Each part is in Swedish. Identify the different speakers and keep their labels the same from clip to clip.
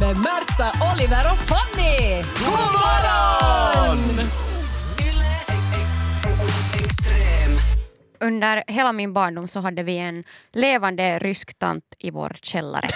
Speaker 1: hälsa Oliver och Fanny! God morgon!
Speaker 2: Under hela min barndom så hade vi en levande rysk tant i vår källare.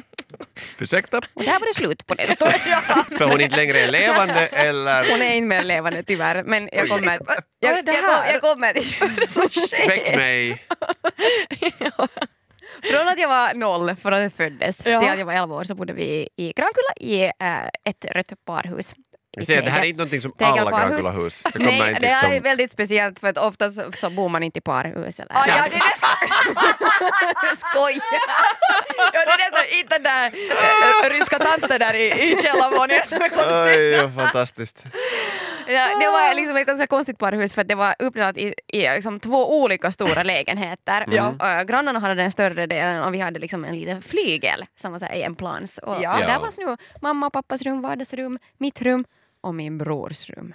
Speaker 3: Ursäkta?
Speaker 2: Och där var det slut på det. Står det.
Speaker 3: För hon är inte längre är levande eller...
Speaker 2: Hon är inte mer levande tyvärr. Men jag
Speaker 3: Ursäkta,
Speaker 2: kommer,
Speaker 3: vad- vad
Speaker 2: jag,
Speaker 1: är
Speaker 2: jag,
Speaker 1: det
Speaker 2: kom-
Speaker 1: här?
Speaker 2: jag kommer att göra det som
Speaker 3: Väck
Speaker 2: sker.
Speaker 3: mig!
Speaker 2: Från att jag var noll, från att jag föddes,
Speaker 1: Ja.
Speaker 2: till att jag var elva år så bodde vi i Grankulla i äh, ett rött parhus. i
Speaker 3: Jag säger att det här är
Speaker 2: Tegel.
Speaker 3: inte någonting som
Speaker 2: Tegel
Speaker 3: alla
Speaker 2: parhus.
Speaker 3: Grankullahus... Det kommer
Speaker 2: Nej,
Speaker 3: inte
Speaker 2: det här är
Speaker 3: liksom-
Speaker 2: väldigt speciellt för att ofta så, så bor man inte i parhus. Eller?
Speaker 1: ja, det är det
Speaker 2: Skoj!
Speaker 1: Ja, det är det som, inte den där eh, ryska tanten där i, i källarvåningen som är konstig.
Speaker 3: Oj, vad fantastiskt.
Speaker 2: Ja, det var liksom ett ganska konstigt parhus för att det var uppdelat i, i liksom två olika stora lägenheter.
Speaker 3: Ja.
Speaker 2: Och, äh, grannarna hade den större delen och vi hade liksom en liten flygel som var så här i en plans. Och
Speaker 1: Ja.
Speaker 3: Ja.
Speaker 2: där fanns nu mamma och pappas rum, vardagsrum, mitt rum och min brors rum.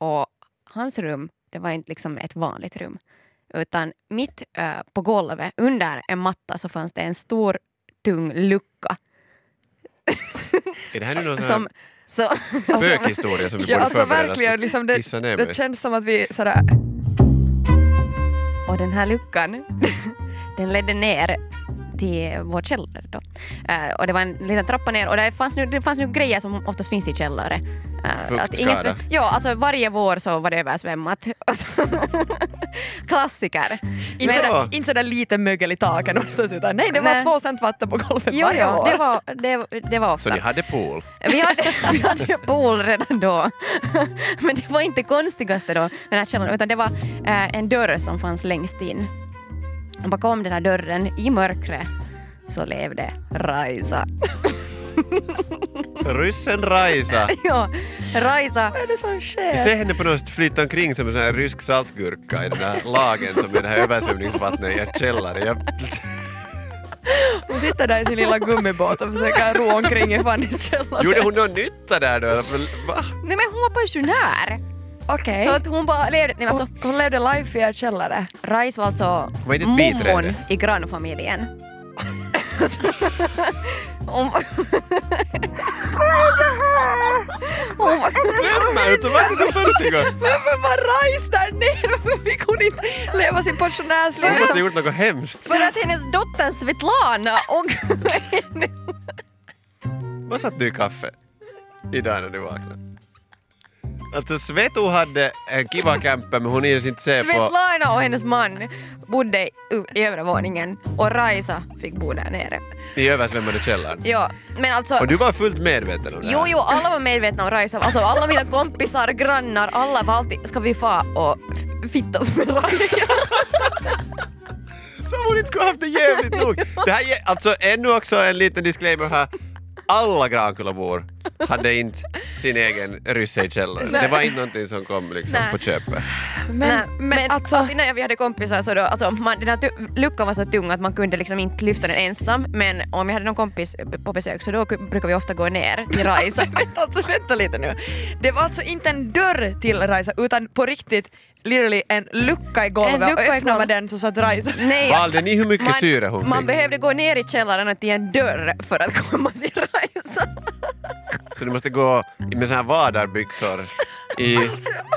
Speaker 2: Och hans rum, det var inte liksom ett vanligt rum. Utan mitt äh, på golvet, under en matta, så fanns det en stor tung lucka.
Speaker 3: Är det här nu någon sån här
Speaker 2: Som, så,
Speaker 3: spökhistoria som vi
Speaker 1: Ja,
Speaker 3: borde
Speaker 1: alltså
Speaker 3: förbereda?
Speaker 1: verkligen, liksom det,
Speaker 3: Gissa ner
Speaker 1: det
Speaker 3: mig.
Speaker 1: känns som att vi sådär...
Speaker 2: Och den här luckan, den ledde ner till vår källare då. Eh, och det var en liten trappa ner och det fanns nu, det fanns nu grejer som oftast finns i källare. Eh, att ingen
Speaker 3: Fuktskada.
Speaker 2: spe- ja, alltså varje vår så var det översvämmat. Och så- Klassiker.
Speaker 1: Inte
Speaker 2: Men-
Speaker 1: sådär, inte sådär lite mögel i taket någonstans utan nej, det var
Speaker 2: Nej.
Speaker 1: två cent vatten på golvet
Speaker 2: Jo,
Speaker 1: varje
Speaker 2: jo,
Speaker 1: år.
Speaker 2: det var, det, det var
Speaker 3: Så
Speaker 2: ofta.
Speaker 3: ni hade pool?
Speaker 2: Vi hade, vi hade ju pool redan då. Men det var inte konstigaste då, med den här källaren, utan det var eh, en dörr som fanns längst in. Och bakom den här dörren, i mörkret, så levde Raisa.
Speaker 3: Ryssen Raisa!
Speaker 2: ja, Raisa.
Speaker 1: Vad är det som sker?
Speaker 3: Vi ser henne på något sätt flytta omkring som en sån här rysk saltgurka i den här lagen som är det här översvämningsvattnet i en källare. Jag...
Speaker 1: Hon sitter där i sin lilla gummibåt och försöker ro omkring i Fannys källare.
Speaker 3: Gjorde hon någon nytta där då? Va?
Speaker 2: Nej men hon var pensionär.
Speaker 1: Okej.
Speaker 2: Så att hon bara levde... Nej, men alltså,
Speaker 1: Hon, hon levde life i er källare.
Speaker 2: Rais var alltså
Speaker 3: var inte ett biträde.
Speaker 2: mormon i grannfamiljen. hon, hon,
Speaker 3: Drömmar du? Vad är det som försiggår?
Speaker 1: Varför var Rajs där nere? Varför fick hon inte leva sin pensionärsliv?
Speaker 3: Hon måste ha gjort något hemskt.
Speaker 2: För att hennes dotter Svetlana och hennes...
Speaker 3: Vad satt du i kaffe idag när du vaknade? Alltså Svetu hade en kiva kämpe men hon hinner inte se på...
Speaker 2: Svetlana och hennes man bodde u- i övre våningen och Raisa fick bo där nere.
Speaker 3: i översvämmade källaren.
Speaker 2: Ja, men alltså...
Speaker 3: Och du var fullt medveten om det här.
Speaker 2: Jo, jo, alla var medvetna om Raisa. Alltså alla mina kompisar, grannar, alla var alltid... Ska vi fa och f- fittas med Raisa?
Speaker 3: Som hon inte skulle haft det jävligt nog. Det här är alltså ännu också en liten disclaimer här. Alla Grankullabor hade inte sin egen rysse i källaren. Det var inte någonting som kom liksom
Speaker 2: Nej.
Speaker 3: på köpet.
Speaker 1: Men,
Speaker 2: Nej,
Speaker 1: men, alltså,
Speaker 2: alltid när vi hade kompisar så då, alltså man, den här tu- luckan var så tung att man kunde liksom inte lyfta den ensam men om jag hade någon kompis på besök så då ku- brukade vi ofta gå ner till Raisa.
Speaker 1: vänta, alltså, vänta lite nu. Det var alltså inte en dörr till Raisa utan på riktigt literally en lucka i golvet
Speaker 2: En lucka i
Speaker 1: och öppnade man
Speaker 2: golvet.
Speaker 1: den så satt Raisa
Speaker 2: Nej,
Speaker 3: Valde ni hur mycket
Speaker 2: man,
Speaker 3: syre hon
Speaker 2: Man
Speaker 3: fick?
Speaker 2: behövde gå ner i källaren och till en dörr för att komma till Raisa.
Speaker 3: Så du måste gå med såna här vadarbyxor i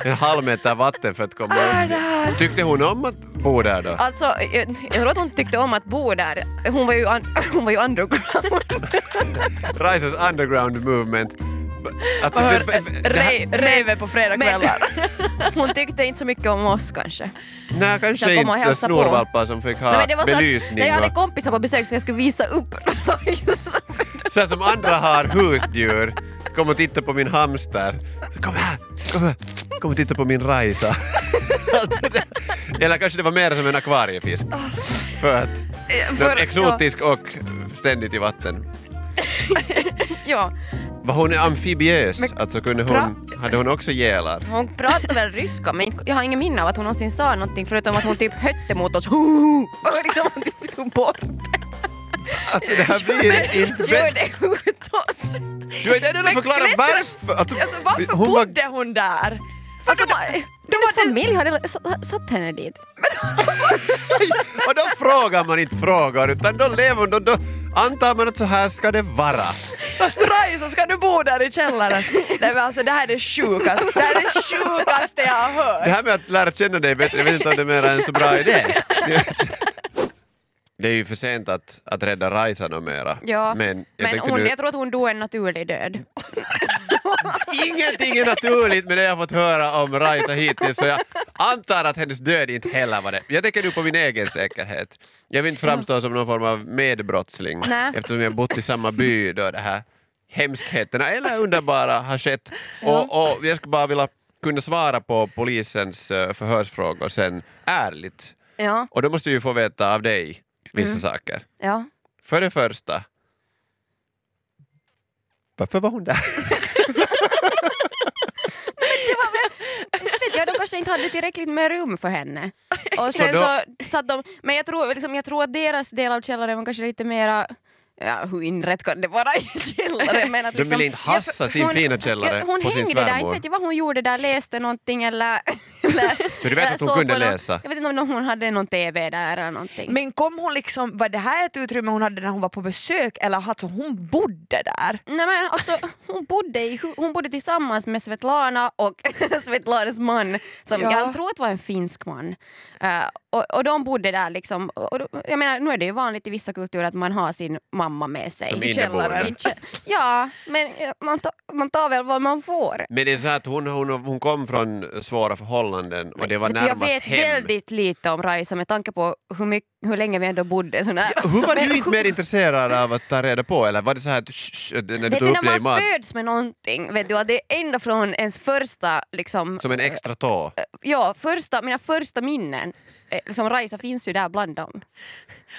Speaker 3: en halv meter vatten för att komma upp. Tyckte hon om att bo där då?
Speaker 2: Alltså, jag, jag tror att hon tyckte om att bo där. Hon var ju, un, hon var ju underground.
Speaker 3: Raisas underground movement. Alltså,
Speaker 1: och hör
Speaker 3: det- det- det här-
Speaker 1: re- reve på
Speaker 2: Men
Speaker 1: fredagskvällar.
Speaker 2: hon tyckte inte så mycket om oss kanske.
Speaker 3: Nej,
Speaker 2: Jag
Speaker 3: kanske
Speaker 2: kommer och
Speaker 3: inte så
Speaker 2: hälsa på.
Speaker 3: snorvalpar som fick
Speaker 2: Nej,
Speaker 3: ha
Speaker 2: men det var så att
Speaker 3: belysning.
Speaker 2: när jag hade
Speaker 3: och-
Speaker 2: kompisar på besök så jag skulle visa upp Raisa.
Speaker 3: Så här som andra har husdjur. Kom och titta på min hamster. Så kom här, kom här. Kom och titta på min rajsa. Alltså det- Eller kanske det var mer som en akvariefisk. För att den
Speaker 2: Eh, för-
Speaker 3: är exotisk och ständigt i vatten.
Speaker 2: Ja,
Speaker 3: Var hon amfibiös? Alltså kunde hon,
Speaker 1: Bra.
Speaker 3: hade hon också gälar?
Speaker 2: hon pratade väl ryska men inte- jag har ingen minne av att hon någonsin sa någonting förutom att hon typ hötte mot oss. Och liksom att vi skulle bort.
Speaker 3: Alltså det här blir inte bättre.
Speaker 2: Körde ut oss.
Speaker 3: Du har inte ännu förklarat
Speaker 1: Greta-
Speaker 3: varför. Alltså,
Speaker 1: Alltså, varför
Speaker 3: hon var-
Speaker 1: bodde hon där?
Speaker 2: Alltså,
Speaker 1: då-
Speaker 2: hennes
Speaker 1: då var det-
Speaker 2: familj hade s- satt henne dit.
Speaker 3: Och då frågar man inte frågor utan då lever då, då antar man att så här ska det vara.
Speaker 1: Raisa, ska du bo där i källaren? Nej men alltså det här är det sjukaste, det här är det sjukaste jag har hört.
Speaker 3: Det här med att lära känna dig bättre, jag vet inte om det är mera en så bra idé. Det är ju för sent att, att rädda Raisa något mera.
Speaker 2: Ja,
Speaker 3: Men jag
Speaker 2: Men
Speaker 3: tänkte
Speaker 2: hon,
Speaker 3: nu,
Speaker 2: jag tror att hon dog en naturlig död.
Speaker 3: ingenting är naturligt med det jag fått höra om Raisa hittills så jag antar att hennes död inte heller var det. Jag tänker nu på min egen säkerhet. Jag vill inte framstå som någon form av medbrottsling
Speaker 2: Nej.
Speaker 3: eftersom jag bott i samma by då det här hemskheterna eller underbara har skett. Och, och jag skulle bara vilja kunna svara på polisens eh, förhörsfrågor sen ärligt.
Speaker 2: Ja,
Speaker 3: Och då måste vi ju få veta av dig vissa saker.
Speaker 2: ja.
Speaker 3: För det första, varför var hon där?
Speaker 2: vet jag, de kanske inte hade tillräckligt med rum för henne. Och
Speaker 3: Så
Speaker 2: sen
Speaker 3: då-
Speaker 2: så satt de, men jag tror, liksom, jag tror att deras del av källaren var kanske lite mera Ja, hur inrätt kan det vara i en källare? Men att liksom-
Speaker 3: De ville inte hassa
Speaker 2: Jag-
Speaker 3: sin fina källare
Speaker 2: hon
Speaker 3: på sin
Speaker 2: hängde där,
Speaker 3: svärmor.
Speaker 2: inte vet jag vad hon gjorde där, läste någonting eller... eller
Speaker 3: Så du vet
Speaker 2: eller
Speaker 3: att hon
Speaker 2: såg
Speaker 3: kunde
Speaker 2: på någon-
Speaker 3: läsa?
Speaker 2: Jag vet inte om hon hade någon TV där eller någonting.
Speaker 1: Men kom hon liksom, var det här ett utrymme hon hade när hon var på besök eller alltså hon bodde där?
Speaker 2: Nej men alltså hon bodde, i, hu- hon bodde tillsammans med Svetlana och Svetlanas man som
Speaker 1: Ja.
Speaker 2: jag tror att var en finsk man. Eh, och, och de bodde där liksom. Och, och, då- jag menar nu är det ju vanligt i vissa kulturer att man har sin mamma med sig.
Speaker 3: Som
Speaker 2: I
Speaker 3: inneboende.
Speaker 2: källaren. I kä- Ja men eh, man, ta, man tar väl vad man får.
Speaker 3: Men det är så här att hon, hon, hon kom från svåra förhållanden och det var
Speaker 2: Vet du, jag
Speaker 3: närmast
Speaker 2: vet
Speaker 3: hem.
Speaker 2: väldigt lite om Raisa med tanke på hur, mycket, hur länge vi ändå bodde så nära.
Speaker 3: Hur var
Speaker 2: Men
Speaker 3: du inte
Speaker 2: hur-
Speaker 3: mer intresserad av att ta reda på eller var det så här att shh, shh, när du
Speaker 2: Vet du
Speaker 3: tog upp dig
Speaker 2: när
Speaker 3: i
Speaker 2: man
Speaker 3: mat
Speaker 2: föds med någonting, vet du, att det är ända från ens första liksom,
Speaker 3: som en extra tå?
Speaker 2: ja, första, mina första minnen eh, som Raisa finns ju där bland dem.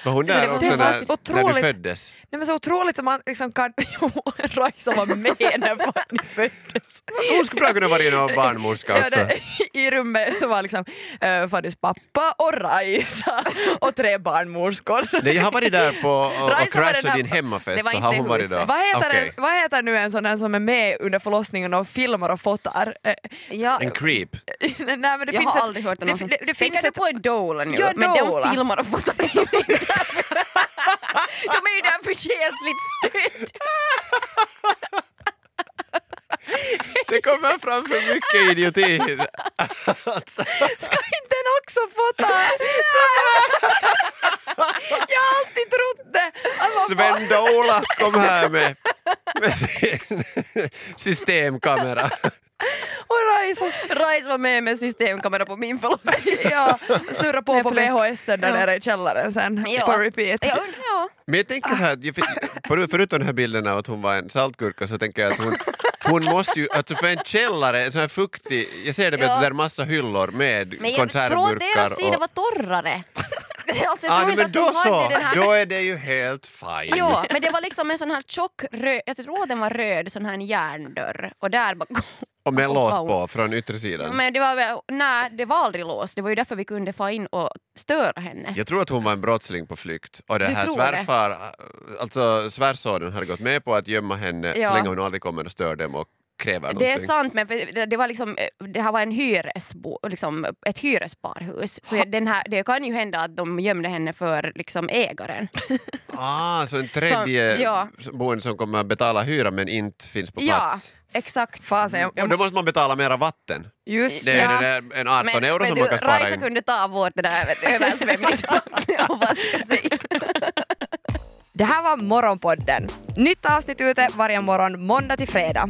Speaker 3: Var hon
Speaker 1: Så
Speaker 3: där
Speaker 1: det var-
Speaker 3: också
Speaker 1: det var
Speaker 3: när, när du
Speaker 1: otroligt-
Speaker 3: föddes?
Speaker 1: Nej men så otroligt om man liksom kan, jo Raisa var med när Fanny föddes.
Speaker 3: Hon skulle bra kunna vara någon barnmorska
Speaker 1: Ja,
Speaker 3: också.
Speaker 1: det, I rummet så var liksom eh, Fannys pappa och Raisa och tre barnmorskor.
Speaker 3: Nej, jag har varit där på och, och
Speaker 1: Raisa var den
Speaker 3: crashat
Speaker 1: här-
Speaker 3: din
Speaker 2: det
Speaker 3: hemmafest
Speaker 2: var
Speaker 3: så har
Speaker 2: inte
Speaker 3: hon varit
Speaker 2: huset.
Speaker 3: där.
Speaker 1: Vad heter,
Speaker 3: Okej.
Speaker 1: en, vad heter nu en sån där som är med under förlossningen och filmar och fotar? Eh,
Speaker 2: Ja,
Speaker 3: En creep.
Speaker 1: Nej, men det
Speaker 2: jag
Speaker 1: finns
Speaker 2: har
Speaker 1: ett-
Speaker 2: aldrig hört om
Speaker 1: det,
Speaker 2: någon
Speaker 1: fi-
Speaker 2: som...
Speaker 1: det, det
Speaker 2: Tänker
Speaker 1: finns
Speaker 2: du
Speaker 1: ett,
Speaker 2: på en doula nu?
Speaker 1: Ja,
Speaker 2: men
Speaker 1: doula.
Speaker 2: de filmar och fotar. de är ju där för själsligt stöd.
Speaker 3: Det kommer fram för mycket idioti.
Speaker 1: Ska inte den också fota? jag har alltid trott det! Alltså,
Speaker 3: Sven Dola kom här med, med sin systemkamera.
Speaker 1: och Raisa
Speaker 2: Rais var med med systemkamera på min förlossning.
Speaker 1: ja, surra på
Speaker 2: Nej,
Speaker 1: på
Speaker 2: förlåt.
Speaker 1: VHS där
Speaker 2: Ja.
Speaker 1: nere i källaren sen på repeat.
Speaker 2: Ja, und- ja.
Speaker 3: Men jag tänker så här, jag fick- för- förutom den här bilden av att hon var en saltgurka så tänker jag att hon, hon måste ju, alltså för en källare, en sån här fuktig, jag ser det med
Speaker 2: Ja.
Speaker 3: att det där är massa hyllor med
Speaker 2: Men jag tror att
Speaker 3: konservburkar
Speaker 2: deras sida var torrare. alltså, jag
Speaker 3: Ah,
Speaker 2: tror
Speaker 3: nej,
Speaker 2: inte
Speaker 3: men
Speaker 2: att
Speaker 3: då
Speaker 2: de
Speaker 3: så,
Speaker 2: hade den här
Speaker 3: då är det ju helt fine.
Speaker 2: Ja, men det var liksom en sån här tjock röd, jag tror den var röd, sån här järndörr. Och där bara...
Speaker 3: Och med lås
Speaker 2: wow.
Speaker 3: på från yttre sidan.
Speaker 2: Men det var väl, nej, det var aldrig låst. Det var ju därför vi kunde få in och störa henne.
Speaker 3: Jag tror att hon var en brottsling på flykt och det
Speaker 2: Du
Speaker 3: här
Speaker 2: tror
Speaker 3: svärfar, alltså svärsonen hade gått med på att gömma henne
Speaker 2: Ja.
Speaker 3: så länge hon aldrig kommer och stör dem och kräver
Speaker 2: Det är
Speaker 3: någonting.
Speaker 2: sant, men för det, det, var liksom, eh, det här var en hyresbo, liksom ett hyresparhus. Så den här, det kan ju hända att de gömde henne för liksom ägaren.
Speaker 3: Ah, så en tredje
Speaker 2: Som- ja.
Speaker 3: boende som kommer att betala hyra men inte finns på
Speaker 2: Ja,
Speaker 3: plats.
Speaker 2: exakt.
Speaker 1: Fasen, jag,
Speaker 3: Och
Speaker 1: jag,
Speaker 3: då måste man betala mera vatten.
Speaker 1: just
Speaker 3: Mm. Det är
Speaker 2: Ja.
Speaker 3: den där, en 18 euro som
Speaker 2: du,
Speaker 3: man kan spara
Speaker 2: Raisa
Speaker 3: in.
Speaker 2: kunde ta vårt det där vet du, översvämningsvattnet och vaska sig.
Speaker 1: Det här var Morgonpodden. Nytt avsnitt ute varje morgon måndag till fredag.